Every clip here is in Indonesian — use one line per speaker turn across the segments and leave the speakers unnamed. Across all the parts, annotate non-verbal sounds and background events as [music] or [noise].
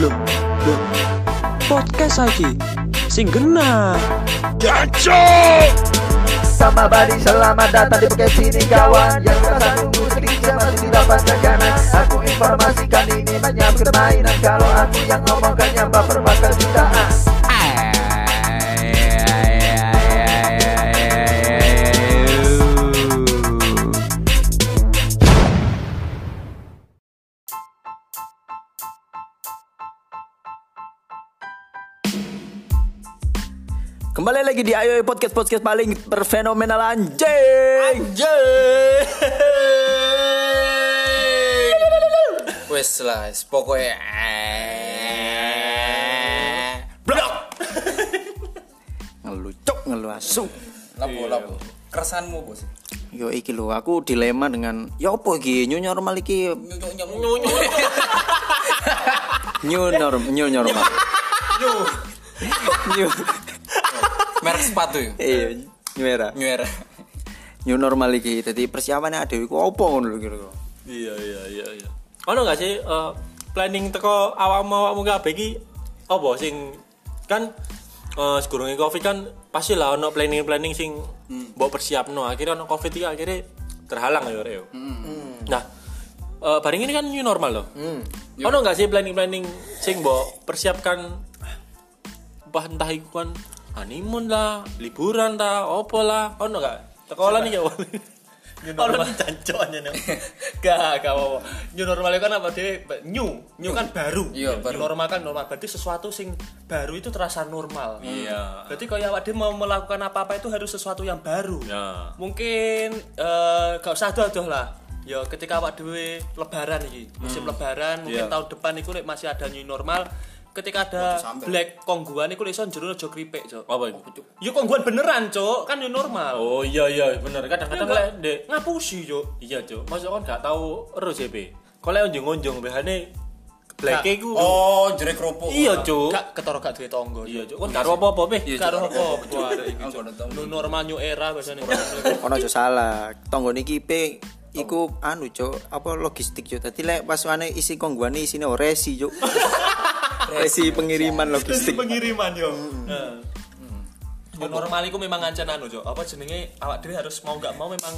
Loh, loh, podcast lagi sing genah.
Sama Badi selamat datang di podcast ini kawan Yang merasa tunggu seketika masih di dapat tekanan Aku informasikan ini menyambut permainan Kalau aku yang ngomongkan yang baper bakal jutaan
Kembali lagi di Ayo Podcast Podcast paling berfenomenal anjing.
Wes lah, pokoknya
Blok. Ngelucuk ngelu asu.
lapo lapo. Keresanmu bos.
Yo iki lho aku dilema dengan ya apa iki new normal iki
Nyunyuk nyunyuk nyunyuk.
new norm new [laughs] normal. new
Merek sepatu ya.
iya new era.
New Era.
New normal iki dadi persiapane adewe ku apa ngono lho kira-kira.
Iya iya iya iya. Ono gak sih eh, planning teko awakmu awakmu kabeh iki apa sing kan eh segurunge Covid kan pasti lah ono planning-planning sing mbok persiapno. Akhirnya ono Covid iki akhirnya terhalang ya Reo. Nah, eh bareng ini kan new normal loh. Ono gak sih planning-planning sing mbok persiapkan bah entah iku kan honeymoon lah, liburan lah, opo lah, ono gak? Teko lan iki ya. [laughs] Ono dijanjokannya [laughs] nih.
Gak, gak apa-apa. New normal itu kan apa dhewe? New. New kan baru.
Iya,
New
baru.
normal kan normal. Berarti sesuatu sing baru itu terasa normal.
Iya.
Berarti kalau awak dhewe mau melakukan apa-apa itu harus sesuatu yang baru.
Ya.
Mungkin eh gak usah doh lah. Ya ketika awak dhewe lebaran iki, musim
Hmm.
lebaran
Iya.
mungkin tahun depan iku lek masih ada new normal. Ketika ada black kongguan iku lek iso jero aja kripik, Cok.
Apa itu?
Ya kongguan beneran, Cok. Kan new normal.
Oh iya iya bener kadang-kadang lek ndek
ngapusi, Cok.
iya cuk masuk kan gak tau ero CP. Kok lek unjung-unjung behane bleke iku.
Oh, jere kerupuk.
Iya cuk.
Gak ketoro gak duwe tangga.
Iya cuk kon gak ero apa-apa peh.
karo apa
Aku udah tahu.
new normal new era biasanya
ono aja salah tonggo niki pe iku anu cok apa logistik cok tadi lek pasuane isi kongguane isine oresi [laughs] cok resi pengiriman logistik
pengiriman yo Hmm. new normal itu Hmm. memang ngancen anu jo apa jenenge awak dhewe harus mau nggak mau memang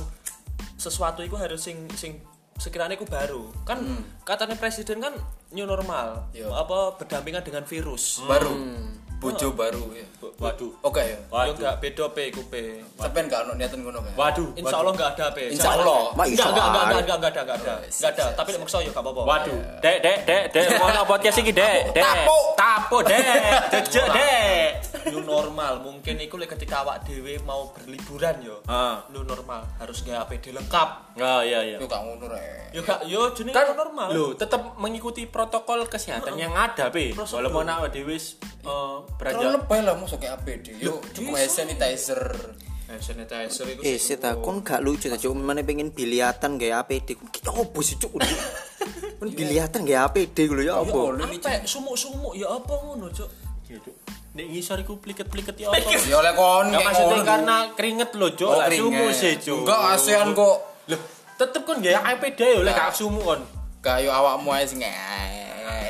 sesuatu itu harus sing sing sekiranya itu baru kan
Hmm.
katanya presiden kan new normal
Yo.
Iya.
apa berdampingan dengan virus
Baru. Bojo baru ya.
Hmm. Waduh.
Oke ya.
yo nggak beda pe iku pe
Sampean gak ono niatan ngono kan?
Waduh.
Insya Allah nggak ada pe
Insya Allah.
Ma,
Enggak,
iso
enggak, enggak,
ae.
enggak, enggak, enggak ada, enggak ada, enggak ada. Tapi lek maksa yo enggak apa-apa.
Waduh. Dek dek dek dek ono podcast iki dek dek.
Tapo.
Tapo dek. Jejek dek.
new normal mungkin itu lek ketika awak dewe mau berliburan yo
Ah.
new normal harus nggak APD lengkap
Oh iya iya.
Yo gak ngono rek.
yo gak yo jenis
Kan
new normal
Lho, tetap mengikuti protokol kesehatan yang ada, Pe.
Prosedur.
Walaupun awak dhewe wis eh,
Oh,
Terlalu
beranjak
lebay lah musuh kayak APD. Yo cukup hand sanitizer.
hand sanitizer itu
eh seta kon gak lucu ta cok mana pengen biliatan gaya APD kon kita ya opo sih cok [laughs] kon biliatan gaya APD lho ya
Yo
opo
lu nih.
apa sumuk sumuk ya apa ngono cok
nek ngisor iku pliket-pliket ya apa.
Yo lek kon
Ya
kayak
maksudnya
ngono.
karena keringet lo Jo,
Oh,
lah
keringet.
sumu sih Jo.
Enggak, ASEAN kok.
Loh, tetep kan gaya IPD ya oleh
Enggak.
gak sumu kan.
Kayak awakmu ae sing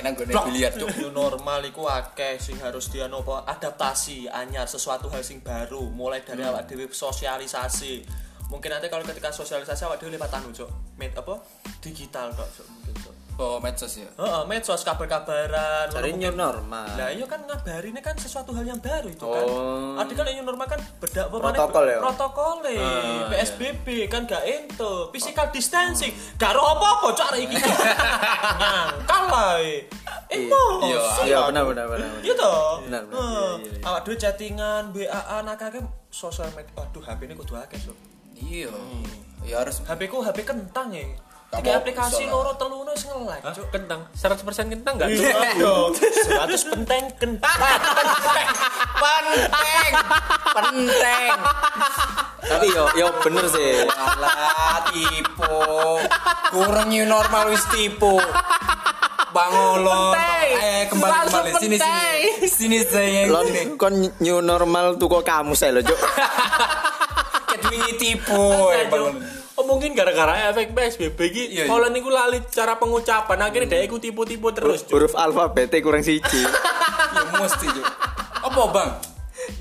nang nggone biliar cuk.
new normal itu akeh sing harus dia nopo adaptasi anyar sesuatu hal sing baru mulai dari awak dewe sosialisasi mungkin nanti kalau ketika sosialisasi awak dewe lewat anu cok med apa digital kok cok mungkin cok
Oh, medsos ya.
Heeh, medsos kabar-kabaran.
dari
ngono
new
mungkin.
normal
Lah iya kan ngabarinnya kan sesuatu hal yang baru itu kan.
Oh.
Ada kan yang normal kan beda apa mana-
Protokol ya?
Ah,
Protokole,
iya.
PSBB kan gak ento, physical distancing. Gak ro apa-apa cok arek
[laughs]
iki. Nyangkal ae. Emosi.
Iya,
iya benar benar benar
ah.
benar.
Iya toh.
Benar, benar.
Heeh.
iya,
Awak dhewe chattingan, WA-an akeh sosial media. Aduh, HP ini kudu akeh, Sob.
Iya. Ya harus
HP ku HP kentang ya.
Gak
Tiga
mau,
aplikasi
soalnya.
loro telu wis nge-lag, Cuk.
Kentang, 100% kentang gak? Jo?
Aduh, 100 penteng kentang.
Penteng. Penteng.
tapi yo yo bener sih
Alah tipu. Kurang new normal wis tipu. Bangolon. Eh kembali kembali sini sini. Sini sayang
lon
sini.
kon new normal tuh kok kamu saya lho cok
Kedwingi tipu. eh, Bang Olon.
Opo
Oh, mungkin gara-gara efek PSBB iki
Iya, iya.
Holland niku lali cara pengucapan akhirnya
Hmm.
dia iku tipu-tipu terus. Cuk.
huruf alfabetnya kurang siji
Ya mesti Cuk. Apa, Bang?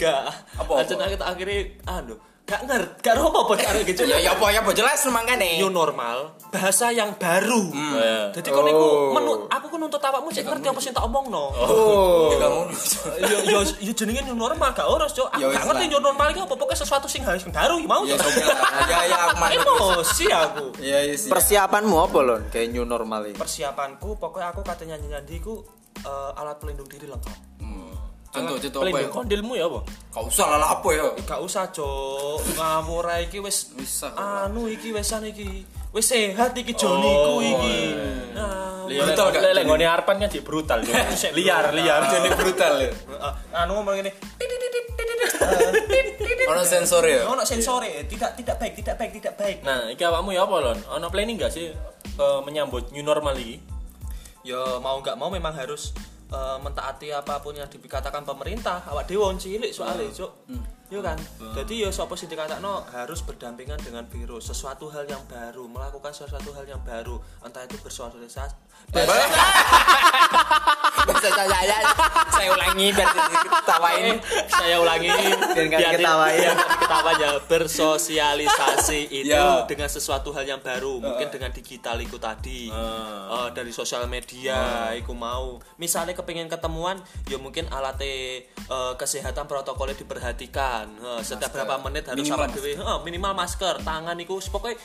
Gak.
Apa,
Apa?
apa?
Akhirnya kita akhirnya anu gak ngerti gak apa apa cara
[laughs]
gitu.
Ya ya apa ya apa jelas makane.
New normal, bahasa yang baru.
Hmm.
Jadi kon niku menu aku ku nuntut awakmu cek ngerti apa sing tak omongno.
Oh. Ya ngono. Cuk.
Yo yo yo iya jenenge new normal gak ora, Cuk.
Ya
Aku
wis
gak ngerti
lah.
new normal iki apa pokoknya sesuatu sing harus baru ya mau.
Ya
Cuk.
coba. Ya
[laughs]
ya aku manut.
Emosi aku.
Ya ya sih.
persiapanmu apa lon kayak new normal ini
Persiapanku pokoknya aku kata nyanyi-nyanyi ku eh, alat pelindung diri lengkap.
Contoh contoh apa ya?
Pelindung kondilmu ya, Bang.
Kau usah lah lah apa ya?
Gak usah, Cuk. Ngawur ae iki wis
Wis ah.
anu iki wesan iki. Wis sehat iki joniku iki. Nah,
Brutal gak?
Lek ngone arpan kan jadi brutal. Cuk.
[laughs]
Liar, liar.
Jadi brutal ya.
eh, anu ngomong ngene.
Ono sensor ya.
Ono sensore, e? tidak tidak baik, tidak baik, tidak baik.
Nah, iki awakmu ya apa, Lon? Ono planning gak sih eh, menyambut new normal iki?
ya mau nggak mau memang harus eh, mentaati apapun yang dikatakan pemerintah awak dewe wong cilik soalnya cuk Iya kan jadi ya sapa sing dikatakno harus berdampingan dengan virus sesuatu hal yang baru melakukan sesuatu hal yang baru entah itu bersosialisasi
Bisa saya saya saya ulangi [laughs] biar diketawain.
Eh, saya ulangi
Biar nggak
Biar-
diketawain.
biar nggak diketawain ya bersosialisasi itu
Ya.
dengan sesuatu hal yang baru mungkin dengan digital itu tadi Eh, dari sosial media iku mau misalnya kepengen ketemuan ya mungkin alatnya eh, kesehatan protokolnya diperhatikan Eh, setiap berapa menit harus
Minimal
sama dewe Eh, minimal masker tangan iku pokoknya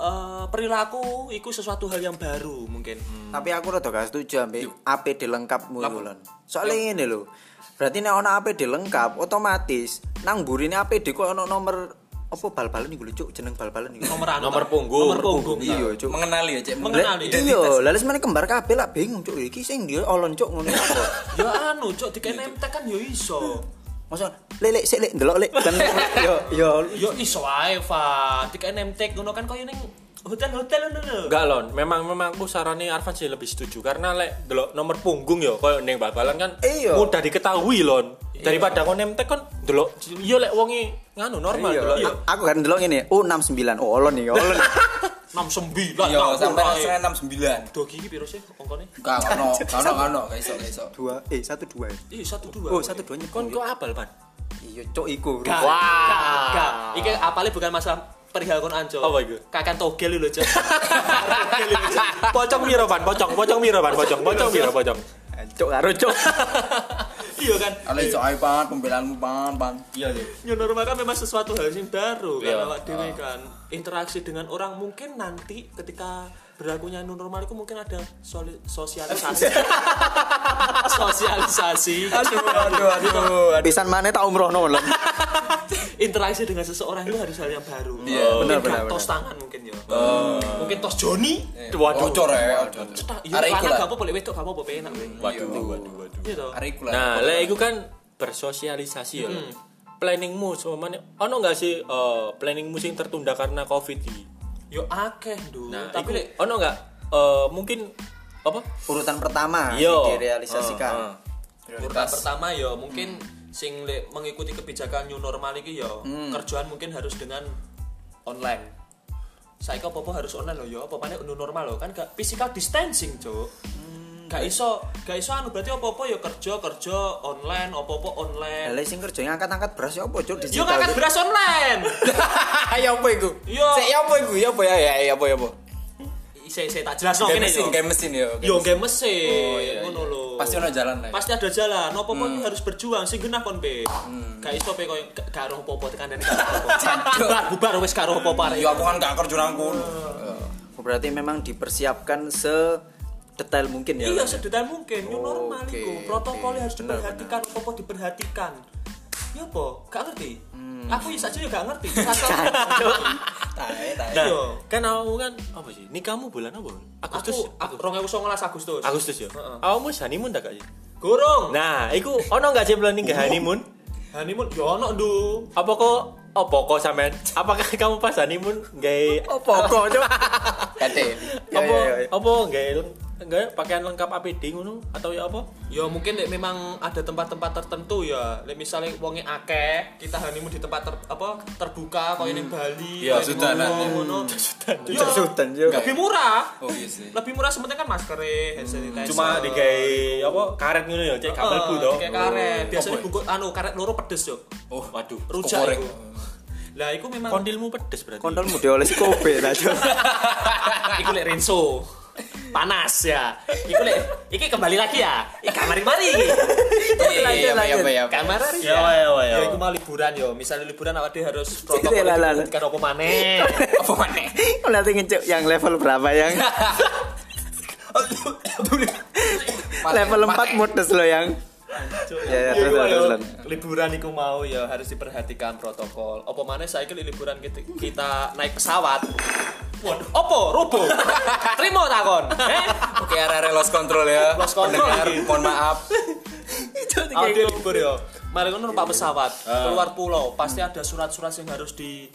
eh, perilaku iku sesuatu hal yang baru mungkin
tapi aku rada gak setuju ambek APD lengkapmu iku lon soalnya ini lho berarti nek ono APD lengkap otomatis nang mburine APD kok ono nomor apa bal-balan iku lho cuk jeneng bal-balan iku
nomor anu,
Nomor
Pak.
punggung.
nomor punggung
iya cuk
Mengenali ya cek.
Mengenali.
Lek- Iya, lalu semuanya kembar kabel lah bingung cuk iki sing dia olon cuk ngono apa.
ya anu cok dikene MTK kan ya iso
Masa lelek sik lek ndelok lek Iya, ben [laughs] yo yo
Yo iso wae, Fa. Tik NMT ngono kan koyo ning hotel-hotel ngono lho.
Enggak lon, memang memang aku sarane Arfan sih lebih setuju karena lek delok nomor punggung ya koyo ning bal-balan kan
Iya.
mudah diketahui lon.
Iya.
Daripada kon nemtek kon delok iya lek wonge nganu normal delok.
Iya, aku kan ndelok ngene. Oh 69. Oh olon iki, [laughs] olon.
69
Iya,
tak
sampai
ora,
langsung
eh.
69.
Do gigi piro sih ongkone?
Gak ono, gak ono, gak ono, gak iso, gak iso.
2 eh 12 ya.
Ih, 12.
Oh 12 nya
Kon kok abal, Pan?
Iya cuk iku.
Wah. Iki apale bukan masalah perihal kon anjo.
Apa iku?
Kakan togel
[laughs]
lho, ya. Cok.
Pocong miro, Pan, pocong, pocong miro, Pan, pocong, pocong miro, pocong.
Cuk karo cuk.
Iya kan?
Kalau iso ae pan, pembelaanmu pan, pan. Iya, iya.
New normal kan memang sesuatu hal yang baru kan
Iya.
awak dhewe kan. Interaksi dengan orang mungkin nanti ketika berlakunya new normal itu mungkin ada soli- sosialisasi. sosialisasi.
Aduh, aduh.
[laughs] Pisan maneh tak umrohno lon.
interaksi dengan seseorang itu harus hal yang baru.
Iya,
mungkin
benar, benar,
gak
benar.
tos tangan mungkin ya. Mungkin tos Joni.
Waduh.
Ocor ya, ocor.
Cetak, ya
Arek iku
anak
lah.
gak apa-apa lek wedok gak apa-apa penak.
Waduh, waduh, waduh.
Iya toh.
Arek iku lah.
Nah, lek iku kan bersosialisasi ya.
Hmm.
Planningmu semuanya, ono nggak sih eh, planningmu sing tertunda karena covid ini?
Yo akeh, Duh.
Nah,
Tapi
iku
lek
ono nggak eh, mungkin apa?
Urutan pertama
Iya.
yang direalisasikan.
urutan pertama ya mungkin sing lek mengikuti kebijakan new normal iki ya
Hmm.
kerjaan mungkin harus dengan online. Saiki apa-apa harus online loh ya, apa panik new normal loh kan gak physical distancing, Cuk.
Hmm,
Gak iso, gak iso anu berarti apa-apa ya kerja kerja online, apa-apa online.
Lah sing kerja ngangkat-angkat beras ya apa cuk
Yo
digital.
ngangkat
Cuk?
beras online.
[laughs]
[laughs]
Ya apa iku?
Yo.
Sik ya apa iku? Ya apa ya? Ya ya, apa ya apa?
Saya saya tak jelas
Game
ngene
mesin,
yo.
game mesin ya. game mesin. Oh,
Yo
iya,
game mesin, ngono lho.
Pasti ono jalan lah. ya.
Pasti ada jalan. Apa pun harus berjuang sing genah kon pe. Gak iso pe koyo gak gak roh apa-apa tekan dari Bubar bubar wis gak roh apa-apa.
Yo aku kan gak kerja nang kono.
Berarti memang dipersiapkan se detail mungkin ya.
Iya
Lon.
sedetail mungkin new normal
Oke,
iku. Protokolnya harus
benar,
diperhatikan, apa diperhatikan. Ya apa? Gak ngerti. Aku ya saja gak ngerti. Asal-
Tae, tae.
Nah,
Iya.
kan awakmu kan apa sih? Nikahmu bulan apa?
Aku
Agustus. ya?
aku 2019 Agustus.
Agustus ya.
Heeh.
Awakmu wis honeymoon tak gak sih?
Gorong.
Nah, iku ono nggak sih planning
Iya.
ke honeymoon?
Honeymoon yo ono ndu.
Apa kok apa kok sampean? Apakah kamu
Iya,
pas honeymoon nggak
Apa kok cuk?
Kate.
apa apa nggak enggak pakaian lengkap APD ngono atau ya apa?
Ya mungkin lek memang ada tempat-tempat tertentu ya. Lek misalnya wonge akeh, kita honeymoon di tempat ter- apa terbuka koyo ning Bali.
Ya,
koyo ning
sudah, nah.
ngono, ngono. Ya,
Sultan yo.
Enggak.
Lebih murah.
Oh Hmm. iya sih.
Lebih murah sebenarnya kan masker, hand sanitizer.
Cuma dikai apa karet ngono ya, cek gak
Eh,
mlebu to.
Kayak karet. Biasanya
Oh, boy.
bungkus anu karet loro pedes yo.
Oh, waduh.
Rujak
Korek.
iku. Lah iku memang
Kondilmu pedes berarti.
Kondolmu dioles kobe ta, Cuk.
[laughs] iku lek Renzo panas ya iku lek iki kembali lagi ya iki kamar mari
Iya, iya, iya, iya, iya.
kamar mari
Ya wae ya wae.
ya iku mah liburan yo misalnya liburan awak dhewe harus
Lah, lah, lah.
protokol kan opo maneh
Apa maneh?
Nanti ngecek yang level berapa [laughs] yang level 4 modes lo yang. Ya, ya,
Ya,
terus,
iku mah
terus,
yo,
terus.
liburan iku mau ya harus diperhatikan protokol opo maneh saiki lek liburan kita, kita naik pesawat Waduh, opo rubuh terima takon eh
Oke, arah-arah lost control ya.
Lost control
Pendengar,
ini.
mohon maaf.
Aku dia libur ya. Mari ngono numpak pesawat, keluar pulau, pasti ada surat-surat yang harus di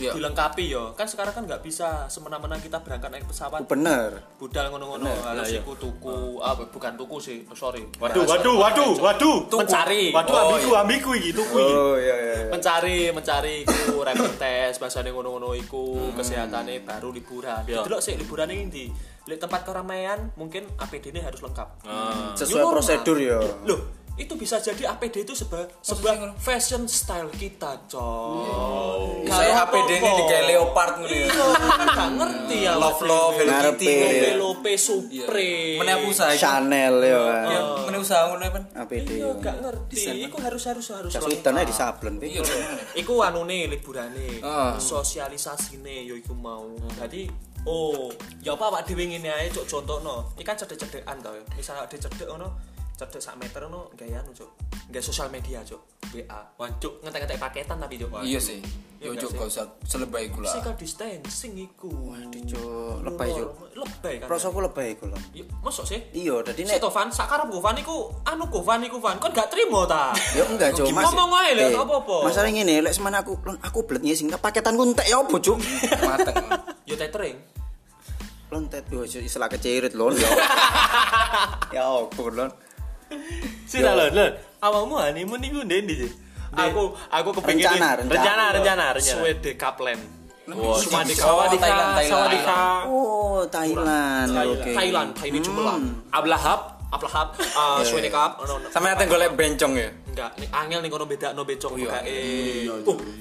Iya.
dilengkapi ya. Kan sekarang kan nggak bisa semena-mena kita berangkat naik pesawat.
Bener.
Budal ngono-ngono harus ikut tuku, ah, bukan tuku sih, sorry.
Waduh,
Waduh waduh waduh.
Mencari,
Waduh
Oh,
ambiku ambiku iki tuku iki.
Oh, iya iya. iya.
mencari, mencari iku [coughs] rapid test, bahasane ngono-ngono iku, kesehatane baru liburan.
Iya.
Delok sih liburane ndi? Lek tempat keramaian mungkin APD-ne harus lengkap.
Sesuai
New normal.
prosedur yo.
Loh, itu bisa jadi APD itu seba- sebuah fashion style kita, coy.
Saya APD ini di kayak leopard ngono ya.
Iya, kan gak ngerti ya.
Love love Hello
Ngarepe.
Kitty. ngono ya.
Lope Supre.
Meneh aku usaha. iku.
Chanel yo. kan.
Ya, meneh usaha ngono ya, Pan.
APD.
Iya,
yo.
gak ngerti. Iku harus harus harus.
Cak
lengkap.
Sultan aja disablon Pi.
Iya, bener.
Iku anune liburane,
Ah.
sosialisasine yo iku mau. Jadi oh, ya apa awak dhewe ngene ae cok contohno. Iki kan cedek-cedekan to. ya. Misal awak dhewe cedek ngono, cedek sak meter ngono gaya anu cok. Gaya sosial media cok. WA. Wancuk ngetek-ngetek paketan tapi cok.
Iya sih. Yo
Iya
cuk
sih.
gak usah selebay iku lah.
Physical distancing iku. Waduh,
Cuk, lebay yo.
Lebay kan.
Prosoku lebay iku lho.
Ya, Mosok sih?
Iya, dadi
Sik
nek
to Van, sakarep go Van iku anu go Van iku Van. Kon gak trimo ta?
Yo enggak, Cuk. Mas.
Ngomong ae lho,
Eh,
gak apa-apa.
Masalah ngene, lek semana aku lon aku blet ngising paketanku entek ya opo,
[laughs]
Cuk?
Mateng.
Yo tetering.
Lon tet yo istilah kecirit lon. yo. [laughs] Ya opo lon.
Sih lah lho. Awakmu honeymoon iku ndendi sih?
Aku aku kepengin
Rencana, rencana.
rencana rencana rencana.
Swede Kaplan.
Wah,
Swadika.
sawadika,
Thailand, Thailand.
sawadika.
Oh, Thailand. Oke.
Thailand, Thailand Jumelan.
Hmm.
Ablahab, Ablahab, eh, Swede Kap. no, no.
Sampe ate golek bencong ya.
Enggak, nih angel nih kono beda no becok
iya.
kayak Uh,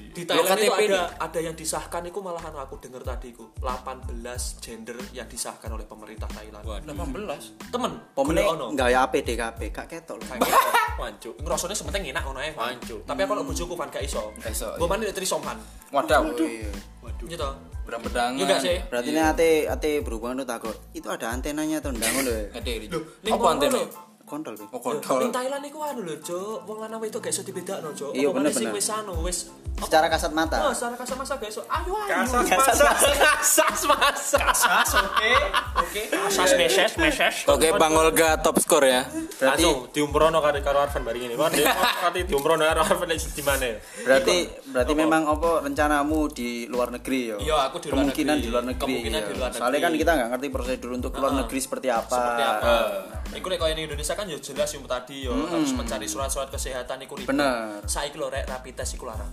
di
Lo
Thailand itu
KTP
ada ada yang disahkan itu malahan aku dengar tadi ku 18 gender yang disahkan oleh pemerintah Thailand.
18.
Temen,
Pomene
golek ono. gitu.
enggak ya APDKP, gak ketok lho.
[laughs]
Wancuk. Ngrasane sementing enak ngono ae. Wancuk. Tapi aku nek bojoku kan gak iso.
Gak iso, iya.
Gua mandi dari sompan.
Wadah.
Iya toh.
Berang bedangan.
Iya gak sih?
Berarti nih ate ate berhubungan tuh takut. Itu ada antenanya tuh ndangun lho.
Eh.
Ada ini.
ning
Apa
kono
antene?
lho.
Kontol Pi.
Oh,
Ning
kontol.
Thailand iku anu lho, Cuk. Wong lanang wedok gak iso dibedakno, Cuk.
Iya,
Apa maneh sing
bener-bener.
wis anu, wis
Secara kasat mata.
Oh, secara kasar masa gak iso. Ayo ayo.
Sas mas.
Kasas, oke. Oke. Kasas meses, meses.
Oke, Bang Olga top skor ya.
Hmm.
Berarti
Langsung diumprono karo karo Arvan bareng ini. Wah, dia kate diumprono karo Arvan nek di mana ya?
berarti berarti memang apa rencanamu di luar negeri yo.
Iya, aku di luar
Kemungkinan
negeri.
di luar negeri.
Kemungkinan
iya.
di luar
Soalnya kan
negeri.
kita nggak ngerti prosedur untuk luar negeri seperti apa.
Seperti apa?
Eh.
Iku lek koyo ning Indonesia kan ya jelas yang tadi yo harus mencari surat-surat kesehatan iku ribet.
Bener.
Saiki lho rek rapid test iku larang.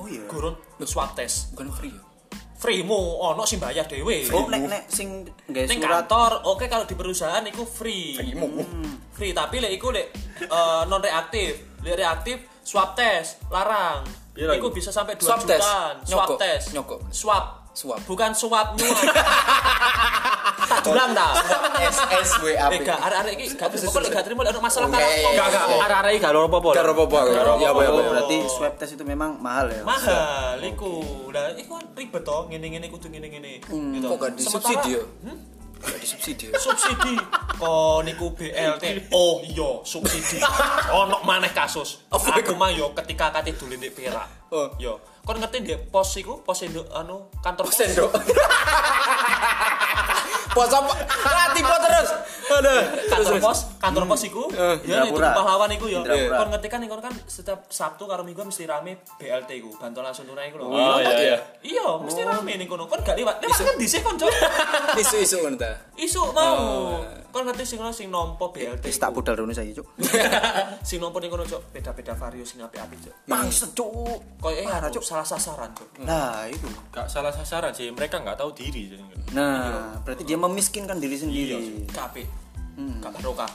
Oh iya.
Gurun swab test.
Bukan free ya.
Free mu ono sing bayar dhewe.
Oh, nek nek sing nggak
Ning
surat
kantor, oke kalau di perusahaan iku free. Free, tapi lek iku lek eh, non reaktif. Lek reaktif swab test larang.
Iya lagi.
Iku bisa sampai 2
Swab
jutaan.
test.
Swab
Nyokok,
test.
nyokok.
Swab.
Swab.
Bukan swab
[laughs]
nyuap. tak dulang ta.
SSWAP.
Eh gak arek-arek iki gak terima kok lek gak terima lek ono masalah
Oke.
karo
iya, Gak, gak.
Arek-arek gak loro apa-apa.
Gak apa-apa. Ya apa
Oh,
apa.
berarti swab test itu memang mahal ya.
mahal iku. Lah iku kan ribet to ngene-ngene kudu ngene-ngene. Gitu.
Kok gak disubsidi
Sementara-
ya? Gak disubsidi ya?
subsidi kok Oh, niku BLT oh iya subsidi ono maneh kasus aku mah yo ketika kate dulu ndek Perak
Oh.
yo kon ngerti ndek pos iku pos induk anu kantor pos
Sendok. Pos apa? Ah, tipe terus. Aduh.
kantor pos kantor pos iku,
Eh,
ya itu
Indrapura.
pahlawan iku ya.
Indrapura.
Kon ngerti kan iku kan setiap Sabtu karo Minggu mesti rame BLT iku, bantuan langsung tunai iku lho.
Oh, iya, iya. Oh.
Iya, mesti rame ning kono. Kon gak lewat. Lewat kan
[laughs]
dhisik kon, Cok.
Isu-isu ngono ta. Oh.
Isuk mau. Kon ngerti sing ngono sing nompo BLT.
Wis
iku.
tak budal rono saiki, Cuk.
[laughs] Sing nompo ning kono, Cok, beda-beda vario sing apik-apik, Cuk.
Bangset, Cuk.
Koyoke anu, salah sasaran, Cuk.
Nah, itu.
Gak salah sasaran sih, mereka gak tahu diri. jadi nggak-
Iya.
Nah, berarti dia memiskinkan diri sendiri.
Kabeh. Gak barokah.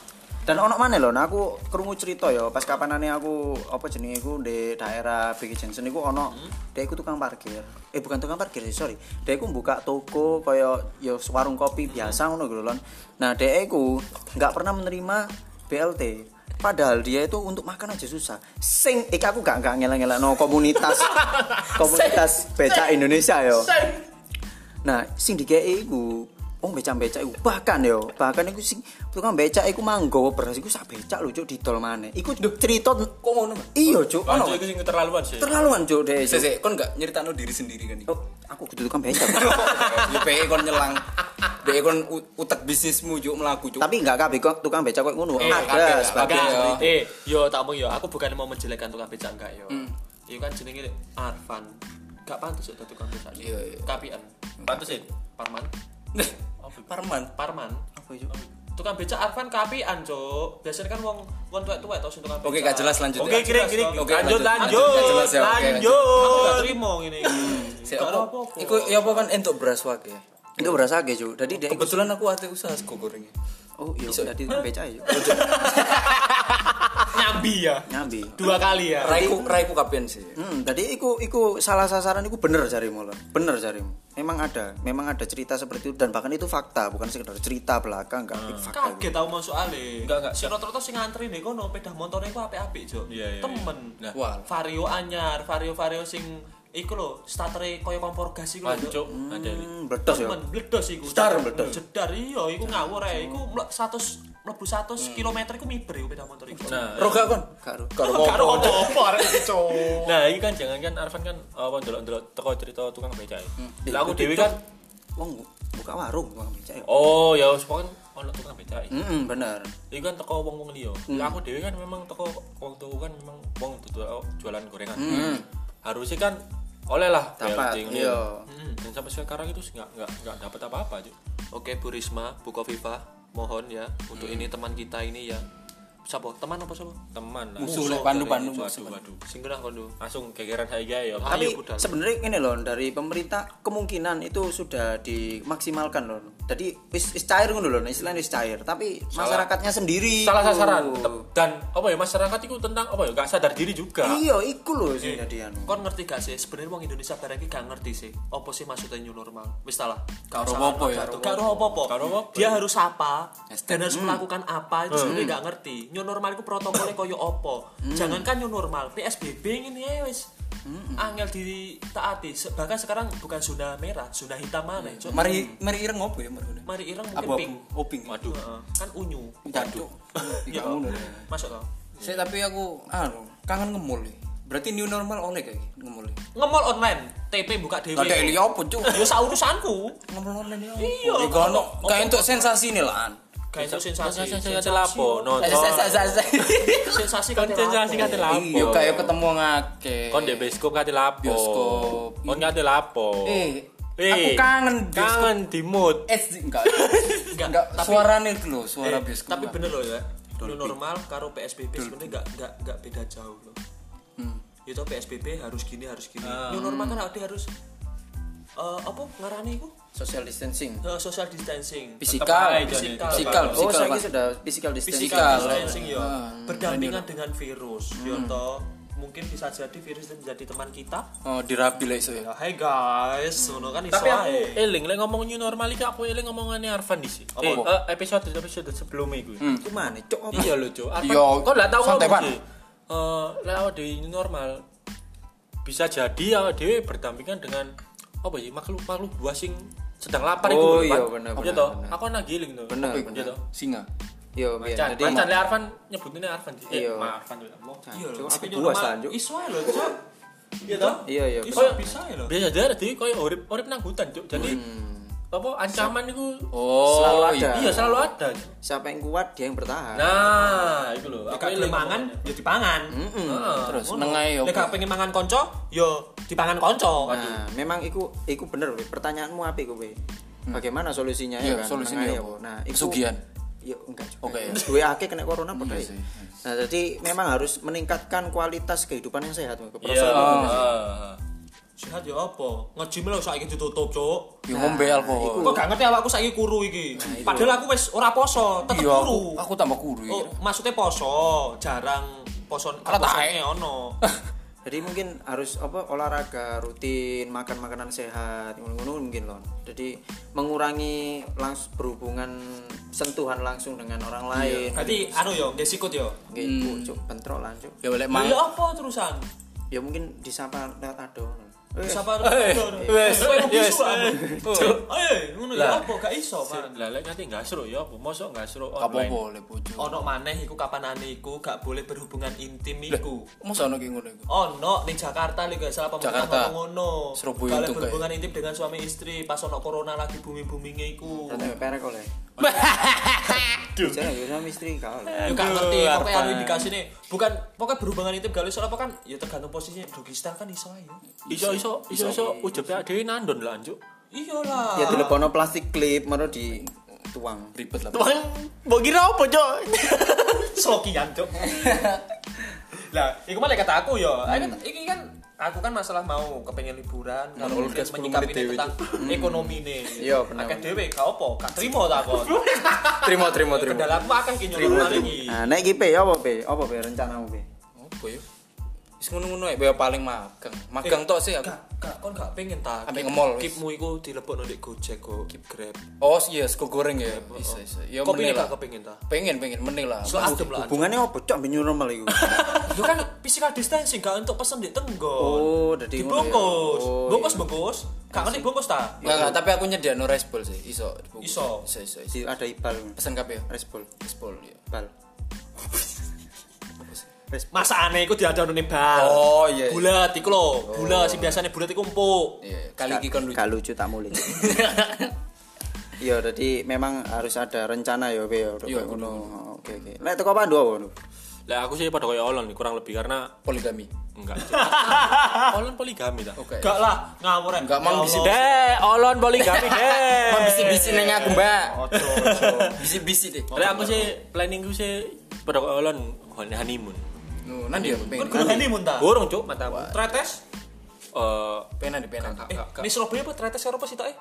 Dan ono mana loh, nah aku kerungu cerita ya, pas kapanane aku apa jenenge aku di daerah Big Jensen iku ono dia iku tukang parkir. Eh bukan tukang parkir sih, sorry. Dia iku buka toko kaya ya warung kopi biasa ngono gitu lon. Nah, dia iku nggak pernah menerima BLT. Padahal dia itu untuk makan aja susah. Sing ik aku gak gak ngelak no komunitas komunitas becak Indonesia ya. yo. Nah, sing dikei iku wong becak-becak iku bahkan yo, bahkan iku sing tukang becak iku manggawa beras iku sak becak lho cuk didol maneh. Iku cerita
Kok ngono, Mas?
iya cuk,
Wah,
ono
itu sing keterlaluan sih.
terlaluan cuk deh. Cuk.
Sese, kon gak nyeritano diri sendiri kan [laughs] iki.
Oh, aku kudu tukang becak.
[laughs] Ya PE kon nyelang. PE kon u- utek bisnismu juk melaku juk.
Tapi enggak kabeh kok tukang becak kok ngono.
Eh,
kabeh,
Ada sebagian
kabeh.
seperti
Enggak, eh, yo tak omong yo, aku bukan mau menjelekkan tukang becak enggak yo. Itu kan jenenge Arfan. Gak pantas yo dadi tukang becak.
Iya, iya.
Kapian.
Pantes sih.
Parman.
Parman.
Parman. Apa itu? Tukang becak Arfan kapian, Cuk. Biasanya kan wong wong tuwek-tuwek to sing tukang becak.
[laughs] Oke, gak jelas lanjut. ya.
Oke, kira kira
Oke,
lanjut lanjut
Gak jelas ya, oke, lanjut.
Aku gak
lanjut.
trimo ngene iki.
Sik,
Gak
apa?
apa-apa.
Iku ya apa kan entuk beras wae.
itu beras aja cuk. Jadi dia iku-
Kebetulan aku ate usaha sego gorengnya.
oh iya dadi tukang becak ya.
nyambi ya.
Nyambi.
Dua kali ya.
Raiku raiku kapian sih.
Hmm, tadi iku iku salah sasaran iku bener jarimu lho. Bener jarimu. Memang ada, memang ada cerita seperti itu dan bahkan itu fakta, bukan sekedar cerita belakang enggak.
Hmm.
Iku fakta. iku.
Kaget tau mau soalnya
Enggak, enggak,
Sing rata-rata sing ngantri nih kono Pedah motornya ku apik-apik Jok
Iya, iya,
Temen
Nah.
Wal.
Vario anyar Vario-vario sing Iku lho Starternya kaya kompor gas iku lho, Jok.
Lanjut. Ada.
Hmm, Bledos ya.
Temen bledos iku
Star
Jedar,
bledos.
Jedar iya Iku ngawur ya Iku mlek 100 Mlebu 100 kilometer iku miber iku pedah motor iku
Nah,
Roga kon.
Karo.
Karo apa-apa arek iki, Jok.
Nah, ini kan jangan kan Arfan kan apa ndelok-ndelok teko cerita tukang becak.
Eh,
Lah aku
itu-
dhewe kan
wong buka warung tukang becak ya.
oh ya wis pokoke ono tukang becak.
Heeh, bener.
Iku kan teko wong-wong liya. Lah aku dhewe kan memang teko wong tuku kan memang wong tuku jualan gorengan. Harusnya kan oleh lah
Dapat,
BLT ngono.
iya.
Hmm, Dan sampai sekarang itu nggak nggak nggak dapat apa-apa aja.
Oke Bu Risma Bu Kofifa Mohon ya Untuk ini teman kita ini ya Siapa? Teman apa siapa?
Teman lah.
Musuh lek pandu-pandu.
Waduh, waduh.
Singgunah kondo
Langsung gegeran saya ya.
Ah.
Tapi
Ayo, budal.
sebenarnya ini loh dari pemerintah kemungkinan itu sudah dimaksimalkan loh. Jadi wis wis cair ngono loh, istilahnya wis cair. Tapi masyarakatnya sendiri.
Salah
iku.
sasaran tetep. dan apa ya masyarakat itu tentang apa ya nggak sadar diri juga.
Iya, iku loh sing dadi anu.
Kon ngerti gak sih? Sebenarnya wong Indonesia barang iki gak ngerti sih. Apa sih maksudnya new normal? Wis ta lah. Gak
Karo
usah
apa
ngomong,
ya?
gak- Gak roh apa-apa.
Gak roh apa.
Dia harus apa dan
Hashtag. Hmm.
harus melakukan apa itu sebenarnya gak ngerti. New normal itu protokolnya koyo apa?
Hmm.
Jangankan new normal, PSBB ini ya wis. Angel ditaati. Se- Bahkan sekarang bukan zona merah, zona hitam mana, Cuk.
Mari mari ireng opo ya Oh, mari.
Mari ireng mungkin
Hmm. Abu-abu
pink.
oping.
Waduh.
Heeh. Kan unyu.
Waduh.
Iya.
Iya ngono.
Masuk tau.
Saya tapi aku anu kangen ngemul. ya. Berarti new normal oleh kayak gini, ngemul. ya.
Ngemol online, TP buka dhewe.
Gak ada eli opo cuk.
Ya saurusanku.
Ngemul online ya.
Iya.
Iku ono gak entuk sensasi nih lah.
Kayak itu sensasi.
Sensasi, sensasi lapo, no.
Sensasi kan
Konsentrasi kate lapo.
Iya kayak ketemu ngake.
Kon di bioskop kate lapo.
Bioskop.
Kon kate lapo.
Eh,
Eh,
aku kangen bioskop.
Kangen di mood.
Eh, enggak. Enggak,
tapi- Eh,
suaranya itu loh, suara bioskop.
Tapi bener loh ya. New normal karo PSBB sebenarnya nggak nggak nggak beda jauh loh. Ya Itu PSBB harus gini harus gini. New normal kan ada harus eh, apa ngarani itu
social distancing.
social distancing.
Fisikal,
aja,
fisikal,
Jon.
fisikal,
Oh,
fisikal,
saya
Pak.
sudah physical distancing.
Physical
Fisikal.
distancing ya.
Ah,
Berdampingan dengan virus. Ya toh, mungkin bisa jadi virus itu menjadi teman kita.
Oh, dirapi lah iso ya.
Ya, Hai guys, ngono kan iso
Tapi aku eh,
ae.
eling lek ngomong new normal iki aku eling ngomongannya Arfan di sini. Eh, eh, episode episode sebelum iku.
Iku mana, cuk? apa?
Iya lho, Cuk. Arfan,
Iya,
kok enggak tahu
santai,
ngomong
Pan.
sih. Eh, lek awak dhewe new normal bisa jadi awak dhewe berdampingan dengan apa sih makhluk makhluk dua sing sedang lapar
Oh,
iku lho,
iya,
Pan.
bener,
Iya
bener,
toh.
bener.
Aku nang giling toh.
Bener,
Apa iku,
bener.
Iya toh.
Singa.
Yo, Iya, biar.
Macan,
Jadi
macan lek Arfan nyebutinnya Arfan sih. Eh,
Iya.
Ma Arfan lho, ngomong.
Iya lho,
Cuk,
tapi
aku
new
puas,
normal
Lan, Cuk.
Iso ae lho, Cuk. Iya toh?
Iya, iya,
Iso
bener.
bisa ae lho.
Biasa jadi koyo urip urip nang hutan, Cuk. Jadi apa ancaman itu
Oh,
Selalu
iya.
ada.
iya selalu ada
siapa yang kuat dia yang bertahan
Nah, itu lho. Aku
Nek
ini
gelem
mangan ya dipangan.
Mm-mm.
Heeh,
Terus,
ngono.
nengah ya
Nek
apa?
gak pengen mangan konco, ya dipangan konco.
nah memang iku iku bener we. pertanyaanmu apa iku we? bagaimana solusinya
Hmm. Iya,
ya kan
solusinya
Mengenai
apa?
apa? nah
Pesugihan.
ya enggak juga
Oke,
okay,
ya.
gue akeh kena corona padahal
sih.
nah jadi memang harus meningkatkan kualitas kehidupan yang sehat we.
Iya.
Keprosoan itu.
heeh. Sehat ya apa? Nge-gym lho saiki ditutup, Cuk.
Ya ngombe alkohol.
Kok gak ngerti awakku saiki kuru iki. Padahal aku wis ora poso, tetep
Iya, aku,
kuru.
aku tambah kuru ya.
Oh, maksudnya poso, jarang poso
Ora taek.
posone
[laughs]
ono.
jadi mungkin harus apa olahraga rutin makan makanan sehat ngono-ngono mungkin loh jadi mengurangi langs berhubungan sentuhan langsung dengan orang
Iya.
lain
Berarti anu yo, nggih sikut yo.
gitu
Hmm.
cuk bentrolan cuk
Ya boleh
Lah
mang.
ya apa terusan?
ya mungkin disapa lewat ado Eh,
Sapa
wes, wes.
Eh, ngono ya apa gak iso, Pak.
lah lek nanti nggak seru ya apa mosok nggak seru
Gak apa-apa
online
boleh bojo.
Ono maneh iku kapanane iku gak boleh berhubungan intim iku.
Masa ono ki ngono iku?
Ono ning Oh, Jakarta lho gak salah pemerintah
Jakarta.
ngomong ngono.
Surabaya
Gak boleh
itu kayak.
berhubungan intim dengan suami istri pas ono corona lagi booming-boomingnya iku.
Tante perek [laughs] oleh. Jangan ya sama istri kau.
Ya gak ngerti pokoknya anu indikasine bukan pokoknya berhubungan intim gak iso apa kan ya tergantung posisinya Dogistar kan iso ayo.
iso iso iso iso ujebe dhewe nandon lah anjuk
Iyalah.
Ya dilebono plastik klip maro di tuang.
Ribet lah.
Tuang, mbok kira apa, Cok?
Slokian [laughs] cok. Lah, iku malah kata aku yo. Aku- Iki kan aku kan masalah mau kepengen liburan
Hmm,
kalau mungkin menyikapi ini tentang [laughs] ekonomi nih.
Iya, bener.
Akeh dhewe gak apa, gak trimo [laughs] takon.
Terima terima
Kendala aku akeh ki nyono iki.
Nah, nek iki pe apa pe? Apa pe rencanamu pe?
Apa ya? Wis ngono-ngono ae, ya paling magang. Magang
Eh,
tok sih aku.
Gak, gak, kon gak pengen tak.
Ambek ngemol, wis.
Kipmu iku dilebokno ndek Gojek kok, kip Grab.
Oh iya, sego goreng ya.
oh.
Bisa, bisa. Ya
Kopi
menil
nih
lah.
gak kepengen ta.
Pengen, pengen menil lah.
Soal adem
[laughs]
lah.
Hubungannya apa cok ben normal [laughs] iku?
Lu kan physical distancing gak untuk pesen ndek tenggon.
Oh, dadi ngono ya.
dibungkus.
Oh,
Bungkus bungkus. Gak ngerti bungkus ta?
Enggak, enggak, tapi aku nyediakno rice bowl sih. Iso. dibungkus.
Iso.
Iso, iso,
Di
iso.
ada ibal.
Pesen kabeh ya.
Respol,
Rice bowl ya.
bal. Respol.
masakane iku diadon ning bal.
Oh, iya, Oh. iya.
Bulat iku lho, bulat sing biasane bulat iku empuk.
Iya, kali iki kon lucu.
Gak lucu tak [laughs] mulai. Iya, jadi memang harus ada rencana ya, Pe. ya, udah
Iya,
kayak ngono. Oke, oke. Lek teko pandu apa ngono?
Lah aku sih pada koyo Olon kurang lebih karena
Poligami.
Eh. [laughs]
enggak. Olon poligami ta.
Oke.
Gak lah, ngawur. ya.
Enggak
Ya
mang bisi
Allah.
Deh, Olon
[laughs]
poligami deh.
Mang bisi-bisi neng aku, Mbak.
Ojo, ojo. Oh.
Bisi-bisi deh.
Lah aku sih planningku sih pada koyo Olon honeymoon.
Nuh, nanti ya
Kon
pengen.
kudu ngene mun ta?
Gorong, Cok, matamu.
Tretes?
Eh,
Penan di penan.
Eh, ini Surabaya apa tretes karo apa sih tok? eh?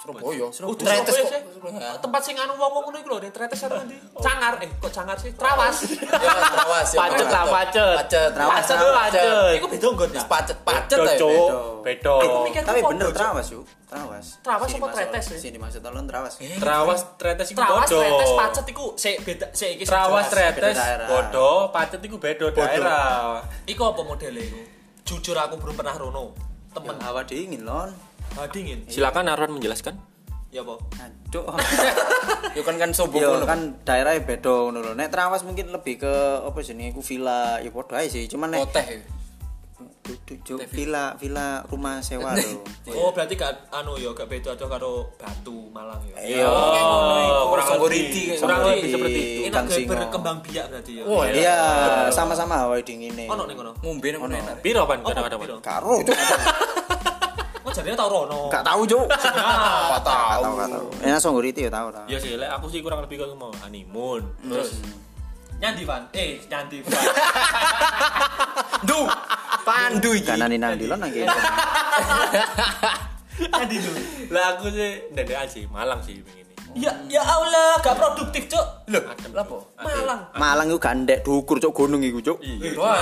Surabaya.
Oh,
Surabaya Oh.
Tretes
sih.
kok. Oh, Tempat sing anu wong-wong ngono iku lho, nek tretes karo ndi? Cangar. Eh, kok cangar
[laughs]
sih? Trawas. [laughs]
Ya, Trawas ya.
Pacet lah, pacet.
Pacet, Trawas.
Pacet, pacet.
Iku beda nggon ta? ya,
Pacet, pacet ya,
Cok,
aja,
Cok.
beda.
Bedo.
Mikir
Tapi
ku
bener
podo, Cok.
trawas, Cuk. Trawas.
Trawas
Sini
apa
maksud-
tretes ya? Eh,
Sini maksud tolong trawas.
Trawas tretes iku
gitu. Trawas,
bodoh.
tretes, pacet iku sik beda sik iki sik
Trawas
jelas.
tretes
beda daerah.
bodoh, pacet iku bedo daerah.
Iku apa modele iku? Jujur aku belum pernah rono. Temen
Awak dingin, Lon.
Ah, dingin.
Silakan Arwan menjelaskan.
Ya apa?
Aduh.
[laughs]
Ya kan kan sobo
Yo
ngono.
kan daerahnya beda ngono lho. Nek Trawas mungkin lebih ke apa jenenge ku villa, ya padha ae sih. Cuman nek
Oteh. ya.
duduk juk villa, villa rumah sewa lho.
Oh, berarti gak anu ya, gak beda aja karo Batu Malang ya.
Eh,
Iya,
Iya.
kurang
kurang
Songgoriti
lebih.
kayak
Kurang
gitu.
lebih seperti itu.
Ini
Kang
agak
Singo.
berkembang biak berarti ya.
Wah, iya.
Iya, sama-sama hawa dingine.
Ono Oh, ning ngono.
Ngombe nang kono enak.
Piro pan kadang-kadang? Pan?
Oh, piro?
Karo cuk.
Kok jadinya Oh, tau rono.
[laughs] Gak tahu cuk.
Apa
Gak
tahu.
tahu, gak tahu. Enak songgoriti ya tahu ta.
Iya sih, lek aku sih kurang lebih kalau mau honeymoon.
Hmm.
Terus
Nyandi Van. Eh, nyandi Van. [laughs]
Du, pandu iki.
Kanan ini nang dilon nang kiri.
Nyandi dulu.
Lah aku sih ndendekan sih, Malang sih pengen ini.
Ya ya Allah, gak produktif, Cuk.
Lho, lapo?
Malang.
Malang iku gandek dukur cuk gunung iku cuk.